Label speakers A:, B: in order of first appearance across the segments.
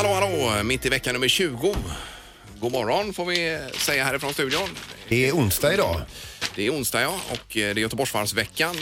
A: idag, mitt i vecka nummer 20. God morgon får vi säga härifrån studion.
B: Det är onsdag idag.
A: Det är onsdag ja, och eh, det är Göteborgsvarvsveckan.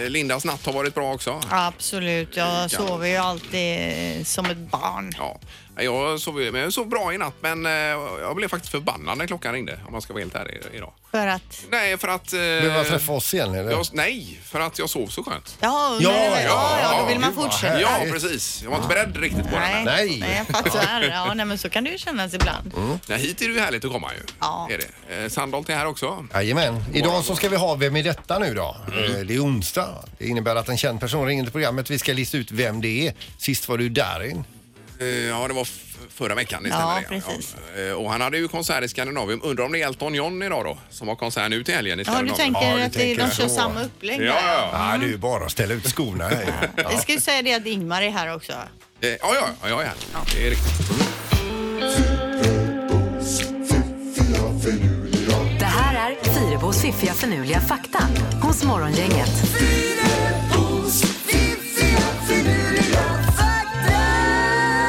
A: Eh, Lindas natt har varit bra också.
C: Absolut, jag sover ju alltid eh, som ett barn.
A: Ja. Jag sov, ju- men jag sov bra i natt men eh, jag blev faktiskt förbannad när klockan ringde om man ska vara helt ärlig idag.
C: För att...
A: Nej, för att... eh,
B: Behöver man träffa oss igen eller?
A: jag, nej, för att jag sov så skönt.
C: Ja,
B: Ja,
C: ja,
B: ja,
C: ja, ja, då vill man
B: gud vad
C: fortsätta.
B: härligt.
A: Ja, precis. Jag var inte beredd riktigt på den.
C: Nej,
A: här.
B: Nej.
C: nej. jag fattar. Ja, nej, men så kan det ju kännas ibland.
A: Nej, hit är det ju härligt att komma ju.
C: Ja.
A: Är det. Eh, Sandholt är här också.
B: Jajamän. Idag så ska vi ha Vem är detta nu då? Eh, Det är onsdag. Det innebär att en känd person ringer till programmet. Vi ska lista ut vem det är. Sist var det ju Darin.
A: Eh, Ja, det var f- förra veckan. Det
C: Ja,
A: stämmer det.
C: precis.
A: Eh, Och han hade ju konsert i Skandinavien. Undrar om det är Elton John idag då, som har konsert nu till helgen i
C: Ja, du
A: Skandinavien.
C: tänker
B: Ja, du
C: att
B: tänker
C: det, de kör
B: så.
C: samma upplägg
A: Ja,
C: där.
A: ja,
B: Ja, det är ju Ah, bara att ställa ut skorna här ju.
C: Vi ska ju säga det att Ingmar är här också.
A: ja. Eh, ja, ja, ja, jag är här. Det är riktigt.
D: Det här är Fyrabos fiffiga förnuliga fakta hos Morgongänget.
A: Eh,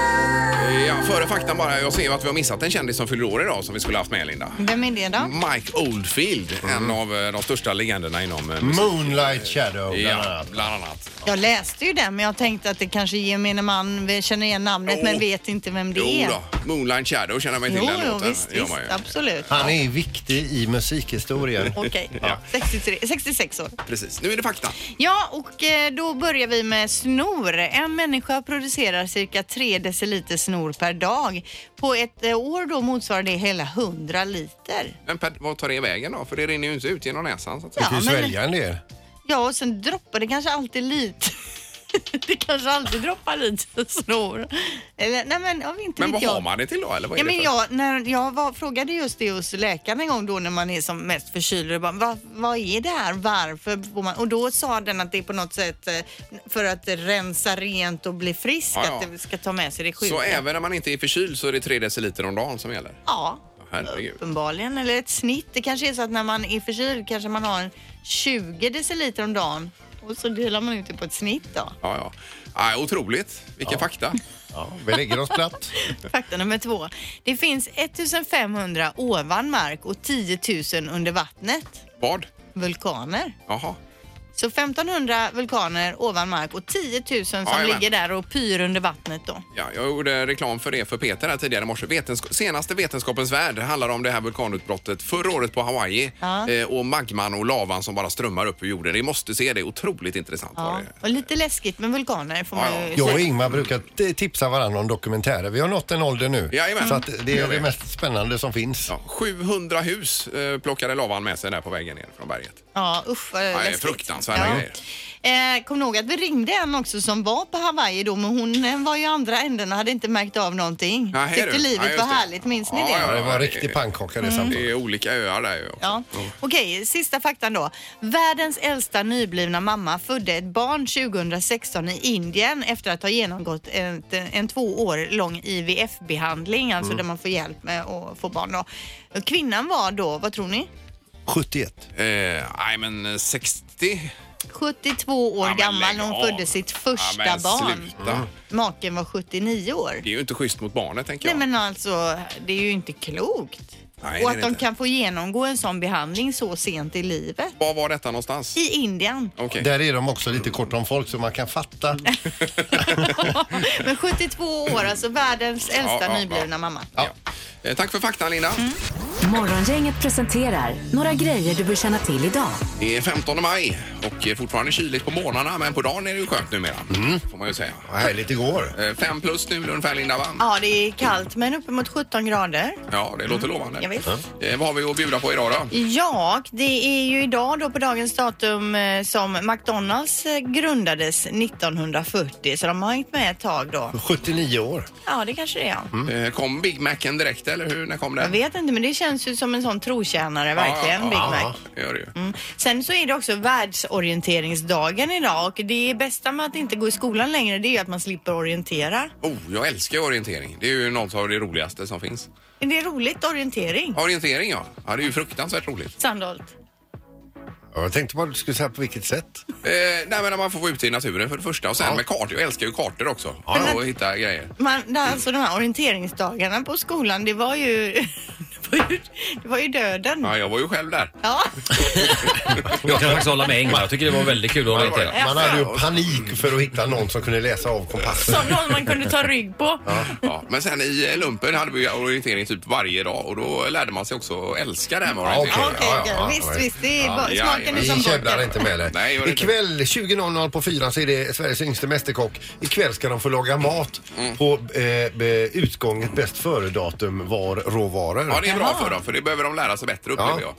A: Ja, före faktan bara. Jag ser ju att vi har missat en kändis som fyller år idag som vi skulle haft med Linda.
C: Vem är det då?
A: Mike Oldfield, en av eh, de största legenderna inom eh, musik.
B: Moonlight Shadow bland
A: Mm. Ja,
B: annat.
A: bland annat.
C: Jag läste ju den men jag tänkte att det kanske gemene man vi känner igen namnet
A: Jo.
C: men vet inte vem det
A: Jo
C: är.
A: då, Moonlight Shadow känner man ju till
C: Jo,
A: den
C: jo,
A: låten.
C: visst,
A: Gör man
C: visst,
A: ju.
C: absolut.
B: Han är viktig i musikhistorien.
C: Okej,
A: Ja.
C: 63, 66 år.
A: Precis. Nu är det fakta.
C: Ja, och eh, då börjar vi med snor. En människa producerar cirka 3 deciliter snor per dag. På ett eh, år då motsvarar det hela 100 liter.
A: Men Per, vad tar det vägen då? För det rinner ju inte ut genom näsan. Så att säga.
B: Du kan ju
C: Ja, men-
B: svälja en del.
C: Ja, och sen droppar det kanske alltid lite. det kanske alltid droppar lite snor. Eller, nej men, ja, inte
A: Men
C: vet
A: vad
C: jag.
A: har man det till då? Eller vad är
C: Ja, men
A: det för-
C: jag, när jag var, frågade just det hos läkaren en gång då när man är som mest förkyld. och bara, Vad, vad är det här? Varför? får Man? Och då sa den att det är på något sätt eh, för att rensa rent och bli frisk.
A: Ja, ja.
C: Att det ska ta med sig det sjuka.
A: Så även när man inte är förkyld så är det 3 deciliter om dagen som gäller?
C: Ja,
A: Herregud.
C: uppenbarligen. Eller ett snitt. Det kanske är så att när man är förkyld kanske man har en 20 deciliter om dagen. Och så delar man ut det på ett snitt då.
A: Ja, ja. Ah, otroligt. Vilka fakta.
B: Ja, vi lägger oss platt.
C: Fakta nummer två. Det finns 1500 ovan mark och 10 000 under vattnet.
A: Vad?
C: Vulkaner.
A: Jaha.
C: Så 1500 vulkaner ovan mark och 10 000 som
A: Jajamän.
C: ligger där och pyr under vattnet då.
A: Ja, jag gjorde reklam för det för Peter här tidigare i morse. Vetensk- senaste Vetenskapens värld handlar om det här vulkanutbrottet förra året på Hawaii
C: Ja.
A: eh, och magman och lavan som bara strömmar upp ur jorden. Ni måste se det. Otroligt intressant var
C: Ja.
A: det.
C: Och lite läskigt med vulkaner får
A: Ja,
C: man ju
B: Jag och
C: säga.
B: Ingmar brukar t- tipsa varandra om dokumentärer. Vi har nått en ålder nu.
A: Jajamän.
B: Så att det
A: Gör
B: är
A: vi.
B: det mest spännande som finns.
A: Ja, 700 hus eh, plockade lavan med sig där på vägen ner från berget.
C: Ja, usch vad
A: är
C: läskigt.
A: fruktansvärda
C: grejer. Eh, kom ihåg att vi ringde en också som var på Hawaii då, men hon eh, var ju andra änden och hade inte märkt av någonting.
A: Nej,
C: Tyckte
A: du. Ja,
C: livet
A: just
C: var
A: det.
C: härligt, minns ni
A: Ja,
C: det?
A: ja,
B: Ja, det var en
A: det-
B: riktig pannkaka Mm. det
A: Det
B: samtalet.
A: är olika öar där ju också.
C: Ja. Okej, sista faktan då. Världens äldsta nyblivna mamma födde ett barn 2016 i Indien efter att ha genomgått en, en två år lång IVF-behandling,
A: Mm.
C: alltså där man får hjälp med att få barn. Då. Kvinnan var då, vad tror ni?
B: 71.
A: Eh, nej, men eh, 60.
C: 72 år
A: Ja, men
C: gammal
A: lägg
C: när hon
A: av.
C: födde sitt
A: Ja,
C: första
A: men
C: barn. Mm.
A: Sluta.
C: Maken var 79 år.
A: Det är ju inte schysst mot barnet, tänker
C: Nej
A: jag.
C: men alltså, det är ju inte klokt.
A: Nej, det är
C: Och att
A: det
C: de
A: inte.
C: kan få genomgå en sån behandling så sent i livet.
A: Var var detta någonstans?
C: I Indien.
A: Okej.
B: Där är de också lite kort om folk så man kan fatta.
C: Men 72 år, alltså världens äldsta
A: Ja, ja,
C: nyblivna
A: ja.
C: mamma.
A: Ja. Eh, Tack för faktan, Linda.
C: Mm.
D: Morgongänget presenterar några grejer du bör känna till idag.
A: Det är 15 maj och eh, fortfarande kyligt på morgnarna, men på dagen är det ju skönt numera. Får man ju säga.
B: Vad härligt igår.
A: Eh, Fem plus nu ungefär, Linda, va?
C: Ja, det är kallt men uppemot 17 grader.
A: Ja, det låter lovande.
C: Mm. Jag vet.
A: Eh, Vad har vi att bjuda på idag då?
C: Ja, det är ju idag då på dagens datum eh, som McDonalds eh, grundades 1940 så de har hängt med ett tag då.
A: Mm.
B: 79 år.
C: Ja, det kanske det är. Ja.
A: Eh, Kom Big Macen direkt, eller hur? När kom
C: Jag
A: den?
C: vet inte men det känns ju som en sån trotjänare verkligen,
A: ja,
C: Big
A: ja,
C: Mac.
A: ja, det gör det ju.
C: Mm. Sen så är det också världsorienteringsdagen idag och det bästa med att inte gå i skolan längre det är ju att man slipper orientera.
A: Oh, jag älskar ju orientering. Det är ju något av det roligaste som finns.
C: Är det roligt orientering?
A: Orientering, ja. Ja, det är ju fruktansvärt roligt.
C: Sandholt?
B: Ja, Jag tänkte bara du skulle säga på vilket sätt.
A: Eh, nej, men man får vara ute i naturen för det första och sen med kartor. Jag älskar ju kartor också. Ja, och hitta grejer.
C: Man, alltså de här orienteringsdagarna på skolan, det var ju, det var ju, det var ju döden.
A: Ja, jag var ju själv där.
C: Ja,
E: Jag kan faktiskt hålla med Ingmar. Jag tycker det var väldigt kul att orientera.
B: Man hade ju panik för att hitta någon som kunde läsa av kompassen.
C: som någon man kunde ta rygg på.
A: Ja, men sen i eh, lumpen hade vi ju orientering typ varje dag och då lärde man sig också att älska det här med orientering.
C: Ja, okej,
B: Ja, ja,
C: okej.
B: ja,
C: visst,
B: ja.
C: visst. Det är
A: Ja,
C: bara,
A: ja,
C: smaken är
A: ja.
B: Vi
C: som
B: käbblar
C: borta.
B: inte med det.
A: Nej, gör inte
B: Ikväll 20.00 på fyran så är det Sveriges yngste mästerkock. Ikväll ska de få laga mat
A: Mm.
B: på eh, be- utgånget bäst före-datum var råvaror.
A: Ja, det är bra för dem för det behöver de lära sig bättre upplever
B: Ja.
A: jag.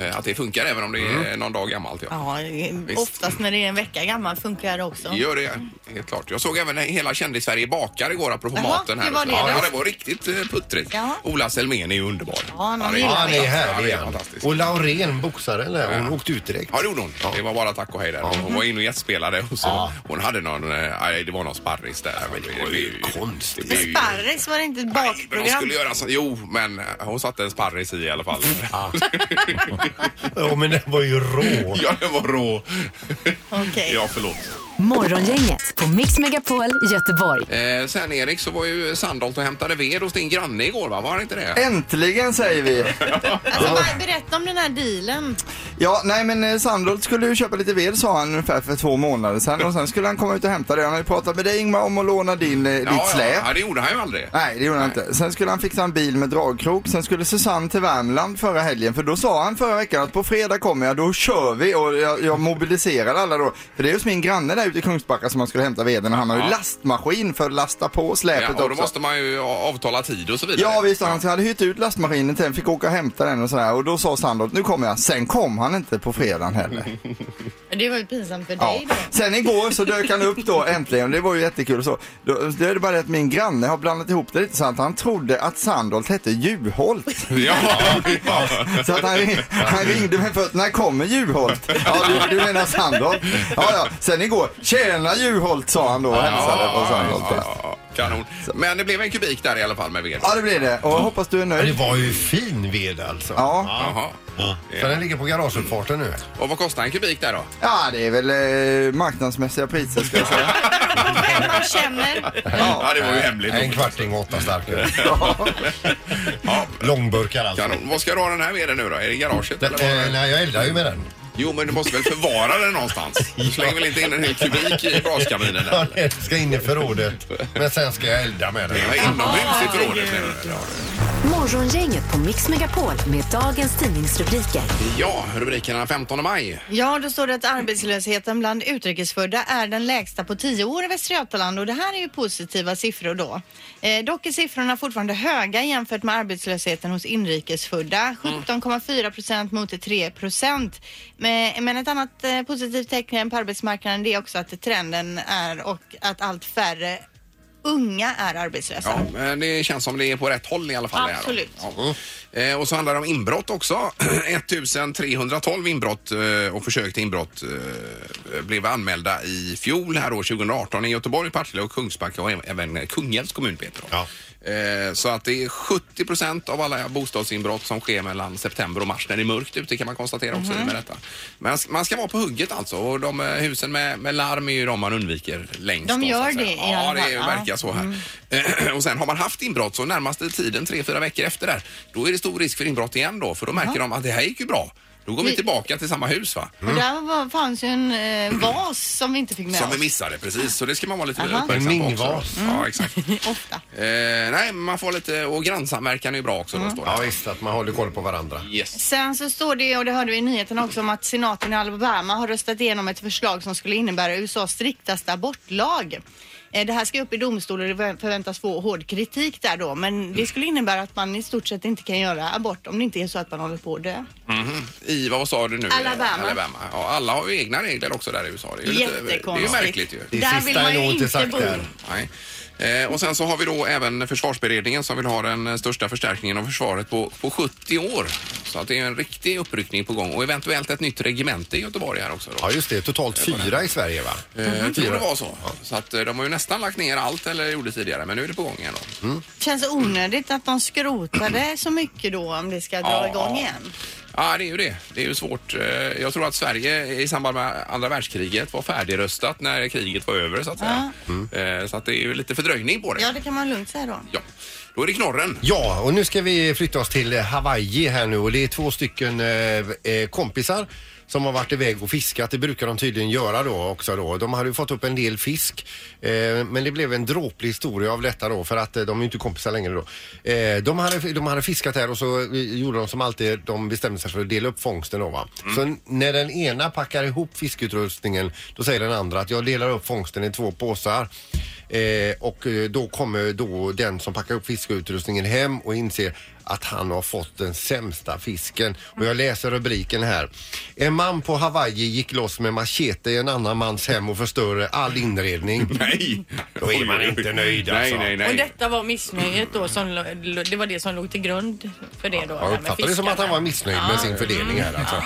A: Eh, Att det funkar även om det är någon dag gammalt. Ja.
C: Ja, oftast när det är en vecka gammal funkar det också.
A: Gör det, helt klart. Jag såg även hela kändis-Sverige bakar igår apropå
C: Jaha,
A: maten här.
C: hur var
A: och så.
C: det då?
A: ja, det var riktigt eh, puttrigt.
C: Jaha.
A: Ola Selmén är ju underbar.
C: han
A: det
B: Ja,
C: gillar
B: han
C: vi.
B: är
A: Ja,
B: här
A: det är
B: igen.
A: fantastiskt.
B: Och Laurén, boxaren där, hon åkte ut direkt.
A: Ja, det gjorde hon. Det var bara tack och hej där. Hon var inne och gästspelade och så.
B: Ja.
A: Hon hade någon, eh, nej, det var någon sparris där. men det var ju
B: konstigt.
A: det var ju-
C: Sparris var det inte ett
A: Nej, men hon
C: bakprogram?
A: skulle göra så. Jo, men eh, hon satte en sparris i i alla fall.
B: Ja, men den var ju rå.
A: ja, den var rå.
C: Okej.
A: ja, förlåt.
D: Morgongänget på Mix Megapol Göteborg.
A: Eh, sen Erik så var ju Sandholt och hämtade ved hos din granne igår va? Var han inte det?
F: Äntligen säger vi!
C: Alltså, bara berätta om den här dealen.
F: Ja, nej men eh, Sandholt skulle ju köpa lite ved sa han ungefär för två månader sedan och sen skulle han komma ut och hämta det. Han hade pratat med dig Ingmar om att låna din, eh, ditt släp.
A: Ja, det gjorde han ju aldrig.
F: Nej, det gjorde han inte. Sen skulle han fixa en bil med dragkrok. Sen skulle Susanne till Värmland förra helgen. För då sa han förra veckan att på fredag kommer jag, då kör vi. Och jag, jag mobiliserade alla då. För det är just min granne där ute i Kungsbacka som han skulle hämta veden. Och han har ju
A: Ja.
F: lastmaskin för att lasta på släpet
A: Ja, och då
F: också.
A: måste man ju a- avtala tid och så vidare.
F: Ja visst, han hade hyrt ut lastmaskinen till den, fick åka och hämta den och sådär. Och då sa Sandholt, nu kommer jag. Sen kom han inte på fredagen heller.
C: Det var ju pinsamt för
F: Ja.
C: dig då.
F: Sen igår så dök han upp då äntligen. Det var ju jättekul och så. Då, det är det bara det att min granne har blandat ihop det lite så att han trodde att Sandholt hette Juholt.
A: Ja, ja.
F: Så att han, ring- han ringde mig först, när kommer Juholt? Ja, du, du menar Sandholt? Ja, ja. Sen igår, tjena Juholt sa han då och hälsade på Sandholt.
A: ja,
F: där.
A: ja, kanon. Men det blev en kubik där i alla fall med ved.
F: Ja, det blir det. Och jag hoppas du är
B: Men det
F: nöjd.
B: var ju fin ved alltså.
F: Ja.
A: Jaha.
B: Så den ligger på garageuppfarten nu.
A: Och vad kostar en kubik där då?
F: Ja, det är väl eh, marknadsmässiga priser ska jag säga.
C: På vem man känner.
A: Ja, det var ju hemligt.
B: En kvarting och åtta stark.
F: Ja.
B: Långburkar alltså.
A: Kanon. Vad ska du ha den här veden nu då? Är det i garaget eller? vad?
B: Eh, nej, jag eldar ju med den.
A: Jo, men du måste väl förvara den någonstans? Du slänger väl inte in en hel kubik i braskaminen?
B: Ja,
A: Där, eller?
B: den ska in i förrådet. Men sen ska jag elda med den.
A: Ja, Inomhus i förrådet menar du?
D: Morgongänget på Mix Megapol med dagens tidningsrubriker.
A: Ja, rubrikerna 15 maj.
C: Ja, då står det att arbetslösheten bland utrikesfödda är den lägsta på tio år i Västra Götaland och det här är ju positiva siffror då. Eh, dock är siffrorna fortfarande höga jämfört med arbetslösheten hos
A: Mm.
C: inrikesfödda. 17,4 procent mot 3 procent. Men, men ett annat eh, positivt tecken på arbetsmarknaden det är också att trenden är och att allt färre unga är arbetslösa.
A: Ja, men det känns som det är på rätt håll i alla fall. det här då.
C: Absolut.
A: Ja. Eh, Och så handlar det om inbrott också. 1312 inbrott eh, och försök till inbrott eh, blev anmälda i fjol här år 2018 i Göteborg, Partille och Kungsbacka och även Kungälvs kommun Peter. då.
B: Ja.
A: Eh, Så att det är 70 procent av alla bostadsinbrott som sker mellan september och mars när det är mörkt ute kan man konstatera också med detta. Men man ska vara på hugget alltså och de eh, husen med, med larm är ju de man undviker längst.
C: De
A: då, så
C: gör
A: att säga.
C: det i
A: alltså. Ja,
C: alla
A: det
C: fall, ja. Mm.
A: verkar så här. Eh, Och sen har man haft inbrott så närmaste tiden, tre, fyra veckor efter där, då är det stor risk för inbrott igen då för då märker de att det här gick ju bra. Då går vi
C: Vi-
A: tillbaka till samma hus va?
C: Och där var, fanns ju en eh, vas som vi inte fick med
A: Mm. Som
C: oss.
A: vi missade precis, så det ska man vara lite
C: Aha. Mm.
A: uppmärksam på
B: En
A: också.
B: mingvas.
A: Ja, exakt.
C: Ofta.
A: Eh, nej, men man får lite, och grannsamverkan är ju bra också.
C: Mm.
A: Då står det.
B: Ja, visst, att man håller koll på varandra.
A: Yes.
C: Sen så står det, och det hörde vi i nyheterna också, om att senaten i Alabama har röstat igenom ett förslag som skulle innebära USAs striktaste abortlag. Eh, Det här ska upp i domstol och det vä- förväntas få hård kritik där då. Men det skulle innebära att man i stort sett inte kan göra abort om det inte är så att man håller på att dö.
A: I, vad sa du nu?
C: Alabama.
A: Alabama. Ja, alla har ju egna regler också där i USA. Det är ju Lite, det är ju
C: Jättekonstigt.
A: märkligt ju.
B: Det
C: Där
B: sista
C: vill
B: är
C: man ju
B: nog inte
C: inte
B: sagt
C: bo.
B: där.
A: Nej. Eh, och sen så har vi då även försvarsberedningen som vill ha den eh, största förstärkningen av försvaret på, på 70 år. Så att det är en riktig uppryckning på gång och eventuellt ett nytt regemente i Göteborg här också. Då.
B: Ja, mm-hmm. just det. Totalt fyra i Sverige, va?
A: Eh, Jag tror det var så. Så att eh, de har ju nästan lagt ner allt eller gjorde tidigare men nu är det på gång igen
B: Mm.
A: då.
C: Känns onödigt att de skrotade så mycket då om det ska dra
A: Ja,
C: igång
A: ja.
C: igen.
A: Ja, det är ju det. Det är ju svårt. Eh, Jag tror att Sverige i samband med andra världskriget var färdigröstat när kriget var över så att säga.
B: Mm.
A: Eh, Så att det är ju lite fördröjning på det.
C: Ja, det kan man lugnt säga då.
A: Ja. Då är det knorren.
B: Ja, och nu ska vi flytta oss till eh, Hawaii här nu och det är två stycken eh, eh, kompisar som har varit iväg och fiskat. Det brukar de tydligen göra då också då. De hade ju fått upp en del fisk eh, men det blev en dråplig historia av detta då för att eh, de är ju inte kompisar längre då. Eh, de, hade, de hade fiskat här och så eh, gjorde de som alltid, de bestämde sig för att dela upp fångsten då va. Så n- när den ena packar ihop fiskutrustningen då säger den andra att jag delar upp fångsten i två påsar. Eh, och eh, då kommer då den som packar upp fiskeutrustningen hem och inser att han har fått den sämsta fisken. Och jag läser rubriken här. En man på Hawaii gick loss med machete i en annan mans hem och förstörde all inredning.
A: Nej!
B: Då är man inte nöjd,
A: Nej,
B: alltså.
A: nej,
C: Och
A: nej.
C: detta var missnöjet då, som, lo- lo- det var det som låg till grund för det då?
B: Jag uppfattar det som att han var missnöjd med sin fördelning här alltså.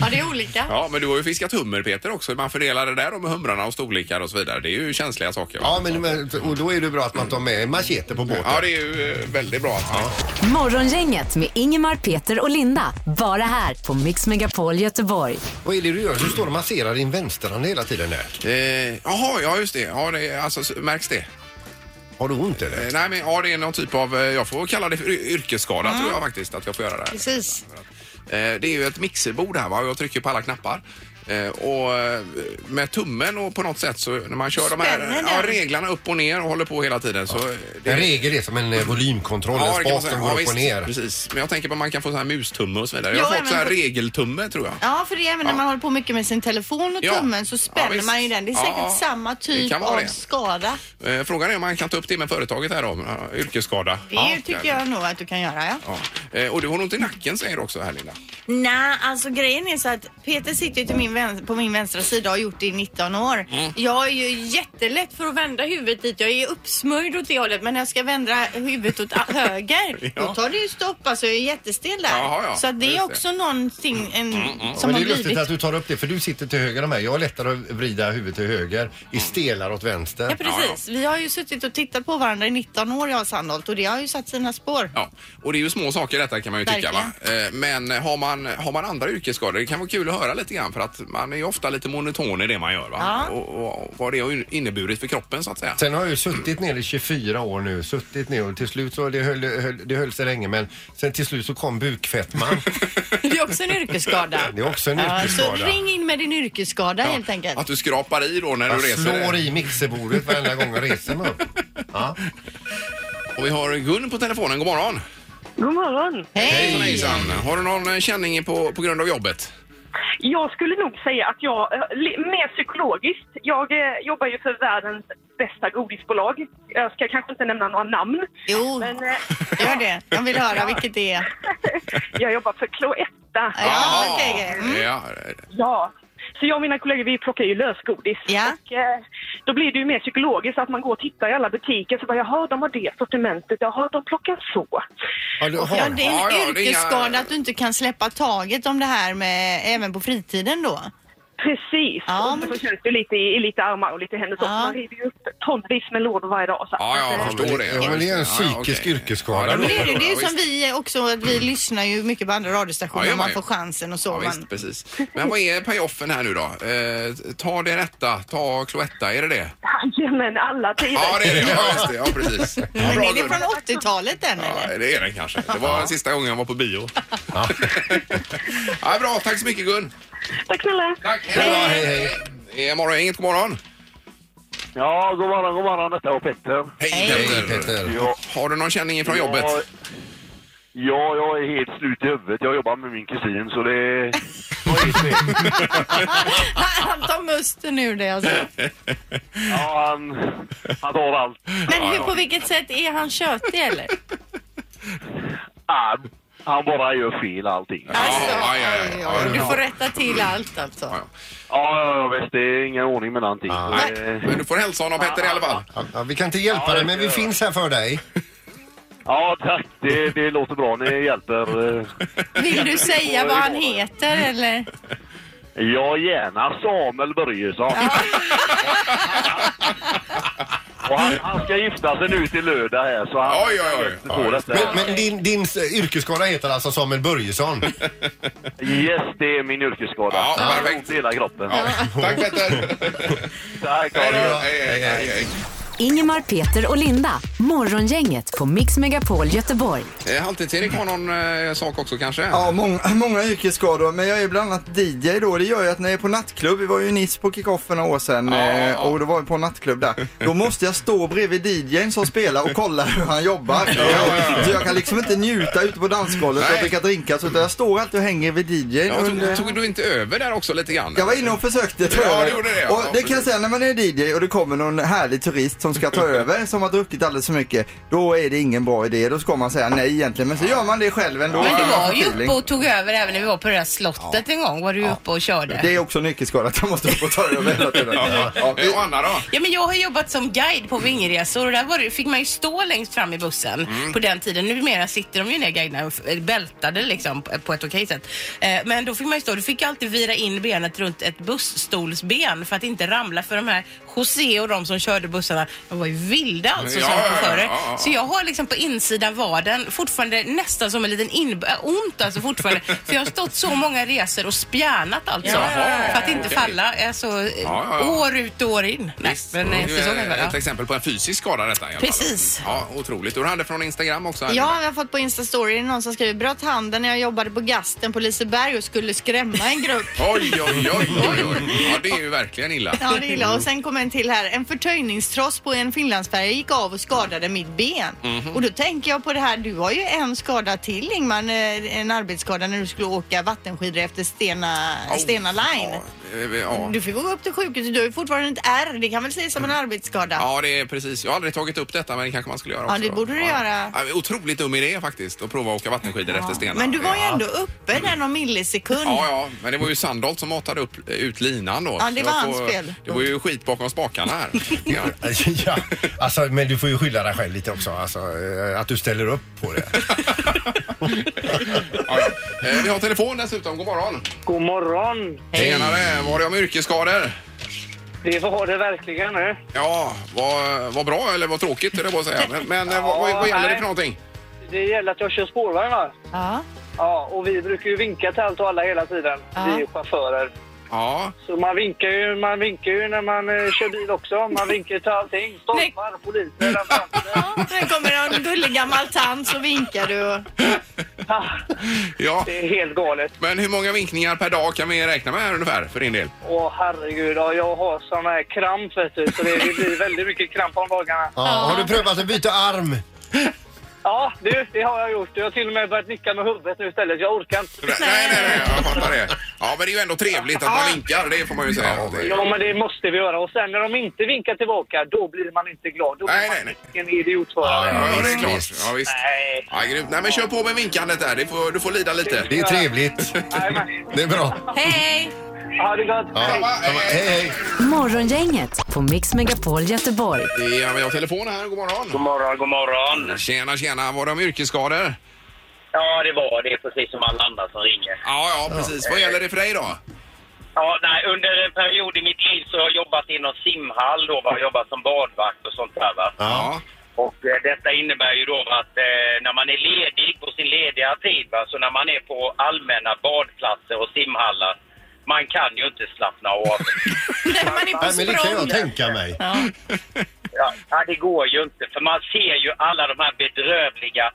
C: Ja, det är olika.
A: Ja, men du har ju fiskat hummer Peter också. Man fördelar det där då med humrarna och storlekar och så vidare. Det är ju känsliga saker. va?
B: Ja, men, men och då är det bra att man tar med machete på båten.
A: Ja, det är ju eh, väldigt bra. Ja.
D: Morgongänget med Ingemar, Peter och Linda. Bara här på Mix Megapol Göteborg.
B: Vad är det du gör? Du står och masserar din vänsterhand hela tiden där.
A: Eh, jaha, ja just det. Ja, det är- alltså, s- märks det?
B: Har du ont eller?
A: Eh, nej, men ja, det är någon typ av, eh, jag får kalla det för y- yrkesskada tror jag faktiskt att jag får göra det. här.
C: Precis.
A: Eh, det är ju ett mixerbord här va, och jag trycker på alla knappar. Eh, och eh, med tummen och på något sätt så när man kör de
C: Spänner
A: här
C: den.
A: ja, reglarna upp och ner och håller på hela tiden så... eh,
B: En regel är som en eh, volymkontroll, en
A: det kan man
B: spak
A: säga.
B: som går upp
A: visst,
B: och ner.
A: Precis. Men jag tänker på att man kan få så här mustumme och så vidare. Jag
C: Ja,
A: har fått
C: men-
A: så här regeltumme tror jag.
C: Ja, för det är även när man håller på mycket med sin telefon och
A: Ja.
C: tummen så
A: Ja,
C: spänner
A: visst.
C: man ju den. Det är
A: Ja,
C: säkert
A: ja.
C: samma
A: Det
C: typ
A: kan vara
C: av
A: det.
C: skada.
A: Eh, frågan är om man kan ta upp det med företaget här då, om, eh, yrkesskada.
C: Det tycker jag nog att du kan göra. Ja.
A: Ja. Eh, Och du har nog inte nacken säger du också här Linda.
C: Nej, alltså grejen är så att Peter sitter ju till min vän, på min vänstra sida och har gjort det i 19 år.
A: Mm.
C: Jag är ju jättelätt för att vända huvudet dit. Jag är uppsmörjd åt det hållet men när jag ska vända huvudet åt a- höger
A: Ja.
C: då tar det ju stopp. Alltså jag är jättestel där.
A: Jaha, ja.
C: Så att det
A: Just
C: är
A: det. Mm,
C: också någonting en,
B: Ja,
C: som
B: men
C: har
B: det är lustigt
C: blivit.
B: att du tar upp det för du sitter till höger om mig. Jag har lättare att vrida huvudet till höger. I stelar åt
C: Ja
B: vänster.
C: precis. Vi har ju suttit och tittat på varandra i 19 år jag och Sandholt och det har ju satt sina spår.
A: Ja, och det är ju små saker detta kan man ju tycka va. Eh, Men har man, har man andra yrkesskador, det kan vara kul att höra lite grann för att man är ju ofta lite monoton i det man gör va.
C: Ja.
A: Och, och vad det har inneburit för kroppen så att säga.
B: Sen har jag ju suttit ner i 24 år nu, suttit ner och till slut så, det höll, höll, det höll sig länge men sen till slut så kom bukfettman.
C: Det är också en yrkesskada.
B: Det är också en
C: Ja,
B: yrkesskada.
C: Så ring in med din yrkesskada helt enkelt.
A: Att du skrapar i då när du
B: Jag
A: reser
B: slår
A: dig.
B: i mixerbordet varenda gång jag reser mig upp. Ja.
A: Och vi har Gun på telefonen, god morgon.
G: God morgon.
C: Hej!
A: Hejsan hejsan. Har du någon eh, känning på, på grund av jobbet?
G: Jag skulle nog säga att jag, eh, li- mer psykologiskt, jag eh, jobbar ju för världens bästa godisbolag. Jag ska kanske inte nämna några namn,
C: Jo,
G: men eh,
C: gör det. Jag vill höra vilket det är.
G: jag jobbar för Cloetta.
C: Ja,
A: Jaha.
C: det är mm.
A: Ja,
G: Ja. Så jag och mina kollegor vi plockar ju lösgodis.
C: Ja.
G: Och, eh, då blir det ju mer psykologiskt att man går och tittar i alla butiker så bara jaha, de har det sortimentet, jaha, de plockar så.
B: Ja, du
C: Ja,
B: har.
C: det är en
A: Ja, ja, det är inga-
C: yrkesskada att du inte kan släppa taget om det här med även på fritiden då.
G: Precis.
C: Ja,
G: och
C: men-
G: så känns det lite i, i lite armar och lite händer så.
C: Ja.
G: Man river ju upp tonvis med lådor varje dag. Så. att-
A: ja jag
B: men
A: förstår
B: det-
A: det.
B: ja, men det är en psykisk yrkesskada
A: Ja,
B: då.
C: Det är, det, det är ju
A: Ja,
C: som vi också, att vi lyssnar ju mycket på andra radiostationer
A: Ja, ja,
C: om man
A: ja.
C: får chansen och så.
A: Ja,
C: man,
A: visst, precis. Men vad är payoffen här nu då? Eh, ta det rätta, ta Cloetta, är det det?
G: Jajamän, alla tider.
A: Ja, det är det. Ja, just det. Ja, precis.
C: men
A: Bra,
C: är det
A: Gun.
C: från 80-talet den eller?
A: Ja, det är den kanske. Det var sista gången jag var på bio. Ja. bra, tack så mycket Gun.
G: Tack snälla.
A: Tack.
B: Ja, hej, hej.
A: Det är morgongänget, god morgon.
H: Ja, god morgon, god morgon. Detta var Petter.
A: Hej,
B: Hej Peter.
H: Ja,
A: Har du någon känning från jobbet?
H: Ja, ja, jag är helt slut i huvudet. Jag jobbar med min kusin, så det... jag är helt slut.
C: Han tar musten ur det alltså.
H: Ja, han, han tar allt.
C: Men hur, på vilket sätt är han tjötig eller?
H: Han, han bara gör fel allting. Ja,
C: Alltså,
A: ja, ja, ja.
C: oj, oj, oj. Du får rätta till allt alltså.
H: ja, ja visst. Det är ingen ordning med någonting. eh,
B: Ja.
H: Så det-
A: Men du får hälsa honom Petter i alla fall.
B: Ja, ja, vi kan inte hjälpa
H: Ja, det
B: dig men vi
H: gör jag.
B: finns här för dig.
H: Ja, tack. Det, det låter bra. Ni hjälper. eh.
C: Vill du säga vad han heter eller?
H: Ja, gärna Samuel Börjesson. Och han, han ska gifta sig nu till lördag här så han
A: Oj, oj, oj.
H: han får detta.
B: Men, men din, din s- yrkesskada heter alltså Samuel Börjesson?
H: Yes, det är min yrkesskada.
A: Ja,
H: Jag har
A: perfekt.
H: ont i hela kroppen.
A: Tack Petter!
H: Tack, ha
A: Hej
H: det bra.
A: då. Hej, hej, hej, hej.
D: Ingemar, Peter och Linda. Morgongänget på Mix Megapol Göteborg.
A: Eh, Halvtids-Erik har någon eh, sak också kanske?
F: Ja, många, många yrkesskador, men jag är bland annat DJ då. Det gör ju att när jag är på nattklubb, vi var ju i Nice på kickoff för några år sedan eh, och då var vi på en nattklubb där. Då måste jag stå bredvid DJn som spelar och kolla hur han jobbar. Så jag kan liksom inte njuta ute på dansgolvet och
A: Nej.
F: dricka drinkar så utan jag står alltid och hänger vid DJn.
A: Ja,
F: under-
A: tog, tog du inte över där också lite grann?
F: Jag var inne och försökte ta
A: Ja,
F: över.
A: det gjorde det, ja.
F: Och
A: Ja,
F: det kan jag säga när man är DJ och det kommer någon härlig turist som ska ta över som har druckit alldeles för mycket. Då är det ingen bra idé. Då ska man säga nej egentligen. Men så gör man det själv ändå.
I: Men du
F: Det är
I: var ju
F: feeling.
I: uppe och tog över även när vi var på det där slottet en gång. Var du ju uppe och körde.
F: Det är också en yrkesskada att jag måste upp och ta över hela tiden.
A: Ja, ja. Eh, Och Anna då?
I: Ja, men jag har jobbat som guide på vingresor och där var det, fick man ju stå längst fram i bussen
A: Mm.
I: på den tiden. Numera sitter de ju ner guiderna och f- bältade liksom p- på ett okej sätt. Eh, men då fick man ju stå. Du fick alltid vira in benet runt ett busstolsben för att inte ramla för de här José och de som körde bussarna. De var ju vilda alltså
A: Ja,
I: som
A: ja, ja,
I: chaufförer.
A: ja, ja.
I: Så jag har liksom på insidan vaden fortfarande nästan som en liten in... äh, ont alltså fortfarande. för jag har stått så många resor och spjärnat alltså.
A: Jaha,
I: för att inte
A: okej.
I: falla. Alltså,
A: ja, ja.
I: år ut och år in. Nej, men
A: Det är
I: efter
A: ju,
I: så
A: eh,
I: kan det
A: ett
I: vara.
A: exempel på en fysisk skada detta. i alla fall.
I: Precis.
A: Ja, otroligt. Och du hade från Instagram också? här,
C: Ja, jag har fått på Insta-story någon som skriver bröt handen när jag jobbade på Gasten på Liseberg och skulle skrämma en grupp.
A: Oj, oj, oj, oj, oj. Ja, det är ju verkligen illa.
C: Ja, det är illa. Och sen kom en till här. En förtöjningstross på en finlandsfärja gick av och skadade mitt ben.
A: Mhm.
C: Och då tänker jag på det här. Du har ju en skada till Ingmar, eh, en arbetsskada när du skulle åka vattenskidor efter Stena, Stena Line.
A: Ja, eh, ja. Mm.
C: Du fick gå upp till sjukhuset. Du har ju fortfarande ett ärr. Det kan väl ses som en arbetsskada?
A: Ja, det är precis. Jag har aldrig tagit upp detta, men det kanske man skulle göra
C: Ja,
A: också.
C: det
A: då.
C: borde du göra.
A: Ja, otroligt dum idé faktiskt, att prova att åka vattenskidor efter stenar.
C: Men du var ju
A: Ja.
C: ändå uppe där någon millisekund.
A: Ja, ja, men det var ju Sandholt som matade upp, ut linan då.
C: Ja, det
A: Så
C: var
A: jag
C: hans
A: får-
C: fel.
A: Det var ju skit bakom spakarna här. Ja.
B: ja, alltså, men du får ju skylla dig själv lite också. Alltså, eh, att du ställer upp på det.
A: Ja, ja. Eh, Vi har telefon dessutom. God morgon.
G: God morgon!
A: Tjenare, var det om yrkesskador?
G: Det var det verkligen eh. nu.
A: Ja, vad, vad bra eller vad tråkigt eller vad säger jag. Men, men eh, vad, vad, vad gäller det för
G: nej.
A: någonting?
G: Det gäller att jag kör spårvagn va?
C: Ja.
G: Ja, och vi brukar ju vinka till allt och alla hela tiden.
C: Ja.
G: Vi är ju chaufförer.
A: Ja,
G: Så man vinkar ju, man vinkar ju när man eh, kör bil också. Man vinkar ju till allting. Stolpar, poliser, ambulanser.
C: Ja, Sen kommer en gullig gammal tant så vinkar du. och-
G: Ah,
A: ja.
G: Det är helt galet.
A: Men hur många vinkningar per dag kan vi räkna med här ungefär för din del?
G: Åh herregud, ja, jag har sån här kramp vet du. Så det, det blir väldigt mycket kramp om dagarna.
B: Ja, har du prövat att byta arm?
G: Ja, du, det har jag gjort. Jag har till och med börjat nicka med huvudet nu istället. Jag orkar inte.
A: Nej, nej, nej, jag fattar det. Ja, men det är ju ändå trevligt att man vinkar, det får man ju säga. Det-
G: Ja, men det måste vi göra. Och sen när de inte vinkar tillbaka, då blir man inte glad. Då blir
A: Nej,
G: man
A: nej,
G: en idiotförare.
A: Ja, ja, det är
B: visst,
A: klart.
B: visst.
A: Ja, visst.
G: Nej.
A: Ja, grymt. Nej, men kör på med vinkandet där. Det får, du får lida lite.
B: Det är trevligt.
G: Nej, men-
B: Det är bra.
I: Hej!
G: Ha det gott. Hej.
B: Hej, hej.
D: Morgongänget på Mix Megapol Göteborg.
A: Ja, vi har telefon här. God
J: God
A: morgon.
J: morgon, god morgon.
A: Tjena, tjena. Var det om yrkesskador?
J: Ja, det var det. Precis som alla andra som ringer.
A: Ja, ja, precis. Vad gäller det för dig då?
J: Ja, nej, under en period i mitt liv så har jag jobbat inom simhall då. va. Jag har jobbat som badvakt och sånt där. Va?
A: Ja.
J: Och eh, detta innebär ju då att eh, när man är ledig på sin lediga tid, va? så när man är på allmänna badplatser och simhallar, man kan ju inte slappna av.
C: Nej, man är på
B: Nej, men det kan
C: språng.
B: jag tänka mig.
C: Ja.
J: Ja, ja, det går ju inte. För man ser ju alla de här bedrövliga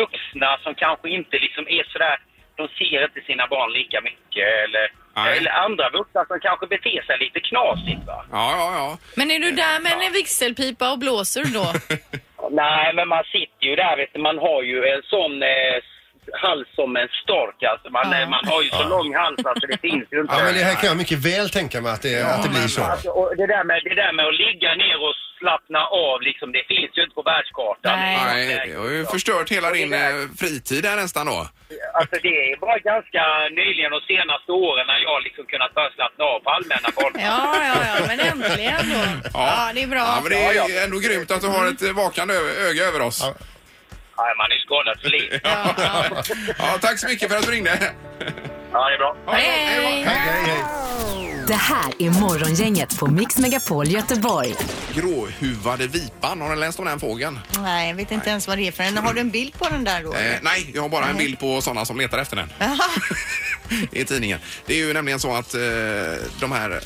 J: vuxna som kanske inte liksom är sådär... De ser inte sina barn lika mycket. Eller,
A: Nej.
J: eller andra vuxna som kanske beter sig lite knasigt. Va?
A: Ja, ja, ja.
C: Men är du där med en vigselpipa och blåser då?
J: Nej, men man sitter ju där. Vet du, man har ju en sån eh, hals som en stork. Alltså, man,
C: Ja.
J: eh, man har ju så lång hals att det finns ju inte.
B: Ja, men det här kan jag mycket väl tänka mig att det, att det blir så.
J: Alltså, och det, där med, det där med att ligga ner och slappna av, liksom, det finns ju inte på världskartan.
C: Nej.
A: Nej, jag har ju förstört hela din eh, fritid där nästan då.
J: Alltså det är bara ganska nyligen de senaste åren när jag liksom kunnat börja slappna av på allmänna golvet.
C: Ja, ja, ja, men äntligen då. Ja, det är bra.
A: Ja, men det är ju ändå grymt att du har ett eh, vakande ö- öga över oss.
B: Ja.
J: Nej, man är skadad för livet.
C: Ja, ja.
A: Ja, tack så mycket för att du ringde.
J: Ja, det är bra.
A: Ha det bra. Hej då.
B: Hej, hej, hej.
D: Det här är Morgongänget på Mix Megapol Göteborg.
A: Gråhuvade vipan, har ni läst om den fågeln?
C: Nej, jag vet inte ens vad det är för en. Har du en bild på den där då?
A: Eh, nej, jag har bara en
C: Nej.
A: bild på sådana som letar efter den i tidningen. Det är ju nämligen så att eh, de här eh,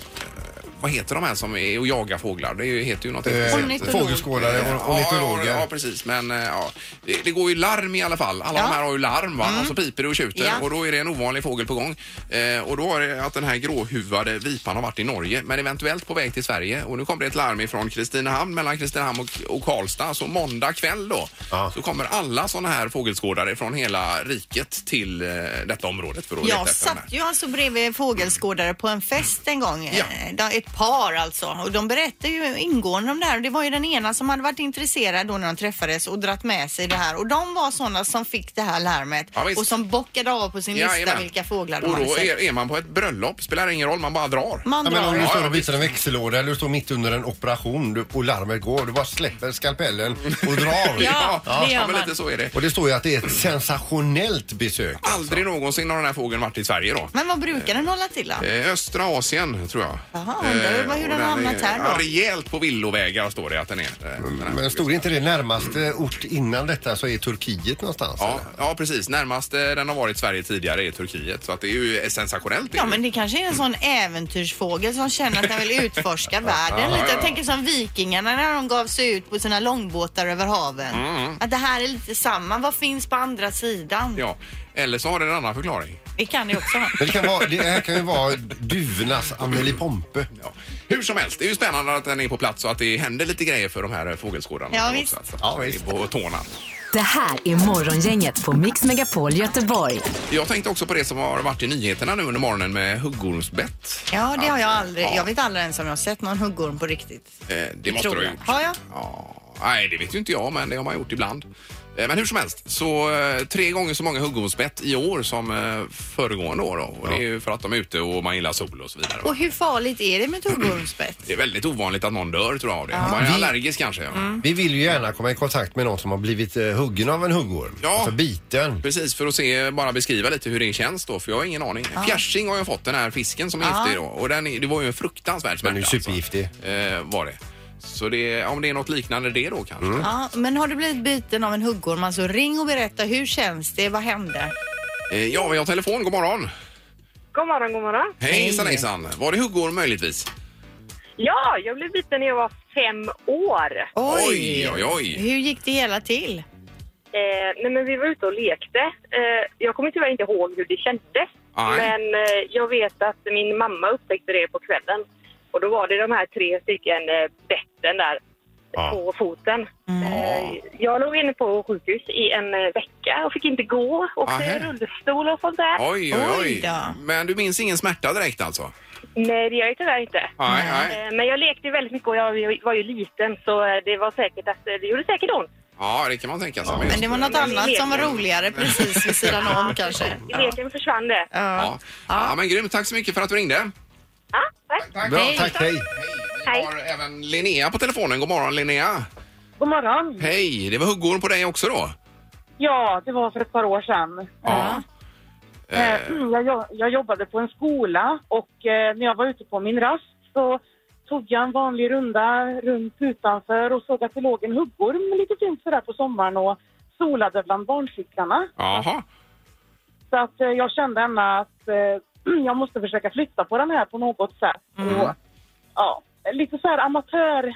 A: vad heter de här som är och jagar fåglar? Det är ju- heter ju något
B: Eh,
A: helt-
B: Ornitolog. fågelskådare och-
A: Ja,
B: ornitologer.
A: Ja, ja, ja, precis. Men eh, ja, det, det går ju larm i alla fall. Alla de här har ju larm va? Och så piper det och tjuter
C: Mm. Ja.
A: och då är det en ovanlig fågel på gång. Eh, och då är det att den här gråhuvade vipan har varit i Norge men eventuellt på väg till Sverige. Och nu kommer det ett larm ifrån Kristinehamn, mellan Kristinehamn och, och Karlstad. Så måndag kväll då så kommer alla sådana här fågelskådare från hela riket till eh, detta området för att leta
C: Jag
A: efter den
C: satt
A: här.
C: ju alltså bredvid fågelskådare på en fest en gång.
A: Ja.
C: Eh, de- Ett par alltså. Och de berättade ju ingående om det här. Och det var ju den ena som hade varit intresserad då när de träffades och dratt med sig det här. Och de var sådana som fick det här larmet
A: Ja, visst.
C: och som bockade av på sin lista
A: Jajamän.
C: vilka fåglar de
A: Och
C: hade
A: då
C: sett.
A: är, är man på ett bröllop, spelar ingen roll, man bara drar.
C: Man
B: Ja, men om du
A: Ja,
B: står
A: ja,
B: och visar en växellåda eller du står mitt under en operation du- och larmet går, du bara släpper skalpellen och drar.
A: Ja, det gör ja, men man. lite så är det.
B: Och det står ju att det är ett sensationellt besök.
A: Aldrig
C: Alltså.
A: någonsin har den här fågeln varit i Sverige då.
C: Men vad brukar den hålla till då?
A: Eh, Östra Asien tror jag.
C: Jaha, undrar hur
A: Eh,
C: den
A: och
C: har hamnat
A: är-
C: här då?
A: ja, Rejält på villovägar står det att den är. eh, den här
B: Men stod inte det närmaste ort innan detta så är Turkiet någonstans?
A: Ja, ja, precis. Närmast eh, den har varit Sverige tidigare är Turkiet. Så att det är ju sensationellt. det är
C: Ja
A: ju.
C: men det kanske är en sån äventyrsfågel som känner att den vill utforska världen
A: Ja,
C: lite.
A: ja.
C: Jag tänker som vikingarna när de gav sig ut på sina långbåtar över haven.
A: Mm.
C: Att det här är lite samma. Vad finns på andra sidan?
A: Ja, eller så har den en annan förklaring.
C: Det kan det också vara.
B: Men det, kan vara, det här kan ju vara duvornas Amelie Pompe.
A: Hur som helst, det är ju spännande att den är på plats och att det händer lite grejer för de här eh, fågelskådarna.
D: Ja,
A: också,
D: visst.
A: Att, att ja, visst. På tårna.
D: Det här är Morgongänget på Mix Megapol Göteborg.
A: Jag tänkte också på det som har varit i nyheterna nu under morgonen med huggormsbett.
C: Ja, det har jag
A: Alltså,
C: aldrig. Jag vet aldrig ens om jag har sett någon huggorm på riktigt.
A: Eh, det måste
C: Tror
A: du ha
C: jag.
A: gjort.
C: Har jag?
A: Nej, det vet ju inte jag, men det har man gjort ibland. Eh, Men hur som helst, så eh, tre gånger så många huggormsbett i år som eh, föregående år. Då. Och Det är ju för att de är ute och man gillar sol och så vidare. va?
C: Och hur farligt är det med ett huggormsbett?
A: Det är väldigt ovanligt att någon dör tror jag av det.
C: Ja.
A: Man är
B: Vi- Mm.
A: allergisk kanske. Ja.
B: Vi vill ju gärna komma i kontakt med någon som har blivit eh, huggen av en huggorm. Ja. Alltså biten.
A: Precis, för att se, bara beskriva lite hur det känns då, för jag har ingen aning. Fjärsing har jag fått, den här fisken som är
B: Ja.
A: giftig då. Och den är, det var ju en fruktansvärd smärta.
B: Den är ju supergiftig.
A: Alltså. Eh, var det. Så det, om det är något liknande det då kanske.
B: Mm.
C: Ja, men har du blivit biten av en huggorm, alltså ring och berätta hur känns det? Vad hände?
A: Eh, ja, vi har telefon. God morgon.
G: God morgon, god morgon.
A: Hejsan hejsan. Var det huggorm möjligtvis?
G: Ja, jag blev biten när jag var fem år.
A: Oj, oj, oj.
C: Hur gick det hela till?
G: Eh, nej, men vi var ute och lekte. Eh, jag kommer tyvärr inte ihåg hur det kändes.
K: Nej.
G: Men eh, jag vet att min mamma upptäckte det på kvällen. Och då var det de här tre stycken eh, betten där på foten. Eh, jag låg inne på sjukhus i en eh, vecka och fick inte gå. Och
A: Aha.
G: i rullstol och sånt där.
A: Oj, oj, oj. Men du minns ingen smärta direkt alltså?
G: Nej, det gör jag tyvärr inte.
A: Nej, nej.
G: Eh, Men jag lekte väldigt mycket och jag var ju liten så eh, det var säkert att eh, det gjorde säkert ont.
A: Ja, det kan man tänka sig.
C: Men det var något annat som var roligare precis vid sidan om kanske.
G: Leken försvann det.
A: Ja. ja, men grymt. Tack så mycket för att du ringde.
G: Tack.
A: Bra, Hej. tack, hej.
G: Hej.
A: Även Linnea på telefonen. God morgon Linnea.
K: God morgon.
A: Hej, det var huggorm på dig också då?
K: Ja, det var för ett par år sedan. Eh, Jag, jo- jag jobbade på en skola och eh, när jag var ute på min rast så tog jag en vanlig runda runt utanför och såg att det låg en huggorm lite fint sådär på sommaren och solade bland barncyklarna.
A: Jaha.
K: Så att eh, jag kände ändå att eh, jag måste försöka flytta på den här på något sätt.
I: Mm.
K: Och, ja, lite så här amatör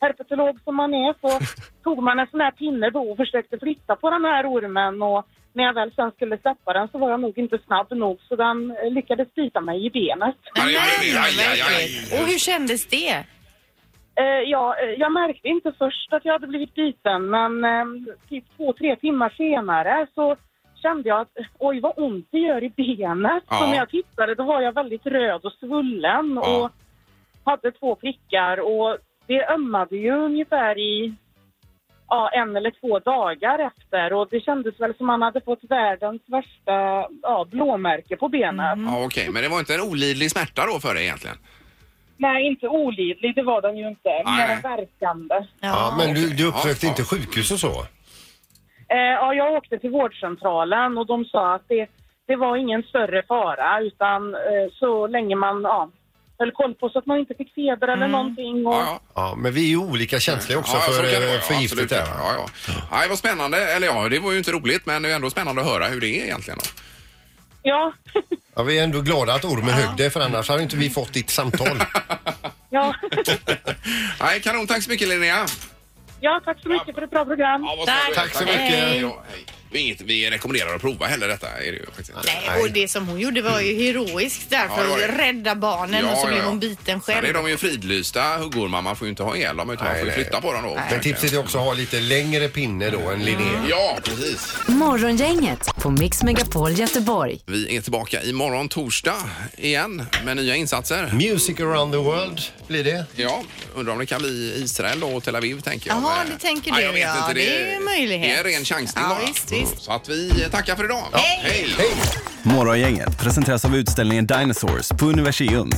K: herpetolog som man är så tog man en sån här pinne då och försökte flytta på den här ormen och när jag väl sen skulle släppa den så var jag nog inte snabb nog så den eh, lyckades bita mig i benet.
A: Aj, aj, aj, aj, aj.
C: Och hur kändes det?
K: Eh, ja, eh, jag märkte inte först att jag hade blivit biten men eh, typ två, tre timmar senare så kände jag att oj vad ont det gör i benet.
L: Ja.
K: Så när jag tittade då var jag väldigt röd och svullen och hade två prickar och det ömmade ju ungefär i ja, en eller två dagar efter och det kändes väl som man hade fått världens värsta ja, blåmärke på benet.
A: Ja, okej. Men det var inte en olidlig smärta då för dig egentligen?
K: Nej, inte olidlig, det var den ju inte. Mer
A: Nej.
K: än verkande.
B: Ja, men du, du uppsökte inte sjukhus och så?
K: Eh, ja, jag åkte till vårdcentralen och de sa att det, det var ingen större fara utan eh, så länge man ja, höll koll på så att man inte fick feber eller någonting. Och,
B: Ja, men vi är ju olika känsliga också
A: Ja,
B: för,
A: ja, så kan det vara.
B: eh,
A: Ja,
B: för giftet
A: absolut.
B: där. va?
A: Ja, ja. Nej, vad spännande. Eller ja, det var ju inte roligt men det är ändå spännande att höra hur det är egentligen. Då.
K: ja,
B: Ja, vi är ändå glada att ormen högg dig för annars hade inte vi fått ditt samtal.
K: ja,
A: Nej, kanon. Tack så mycket Linnea.
K: ja, tack så mycket för ett bra program.
A: Tack.
B: Tack så mycket. Hej.
A: Ja, hej. Det är Inget vi rekommenderar att prova heller detta är det ju faktiskt inte.
C: Nej, och det som hon gjorde var ju heroiskt där
A: Ja,
C: för
A: det var
C: att
A: det.
C: rädda barnen
A: Ja,
C: och så
A: ja,
C: blev
A: ja.
C: hon biten
A: Sen är
C: själv.
A: de ju fridlysta huggormar. Man får ju inte ha ihjäl dem utan man får ju
B: nej.
A: flytta på dem då.
B: Men tipset är också att ha lite längre pinne då än Linnea.
A: Ja, precis.
D: Morgongänget på Mix Megapol Göteborg.
A: Vi är tillbaka imorgon torsdag igen med nya insatser.
B: Music around the world blir det.
A: Ja, undrar om det kan bli Israel då och Tel Aviv tänker jag.
C: Jaha,
A: Men-
C: det tänker
A: Nej,
C: du,
A: jag vet
C: ja.
A: inte.
C: Det är ju en möjlighet.
A: Det är en ren chansning
C: Ja,
A: bara.
C: visst, visst.
A: Så att vi tackar för idag. Hej!
L: Morgongänget presenteras av utställningen Dinosaurs på Universium.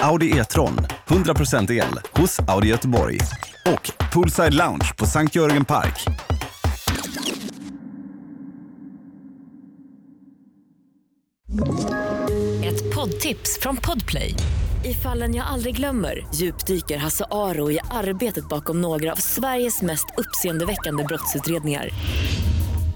L: Audi E-tron, 100% el, hos Audi Göteborg. Och Poolside Lounge på Sankt Jörgen Park.
M: Ett poddtips från Podplay. I fallen jag aldrig glömmer djupdyker Hasse Aro i arbetet bakom några av Sveriges mest uppseendeväckande brottsutredningar.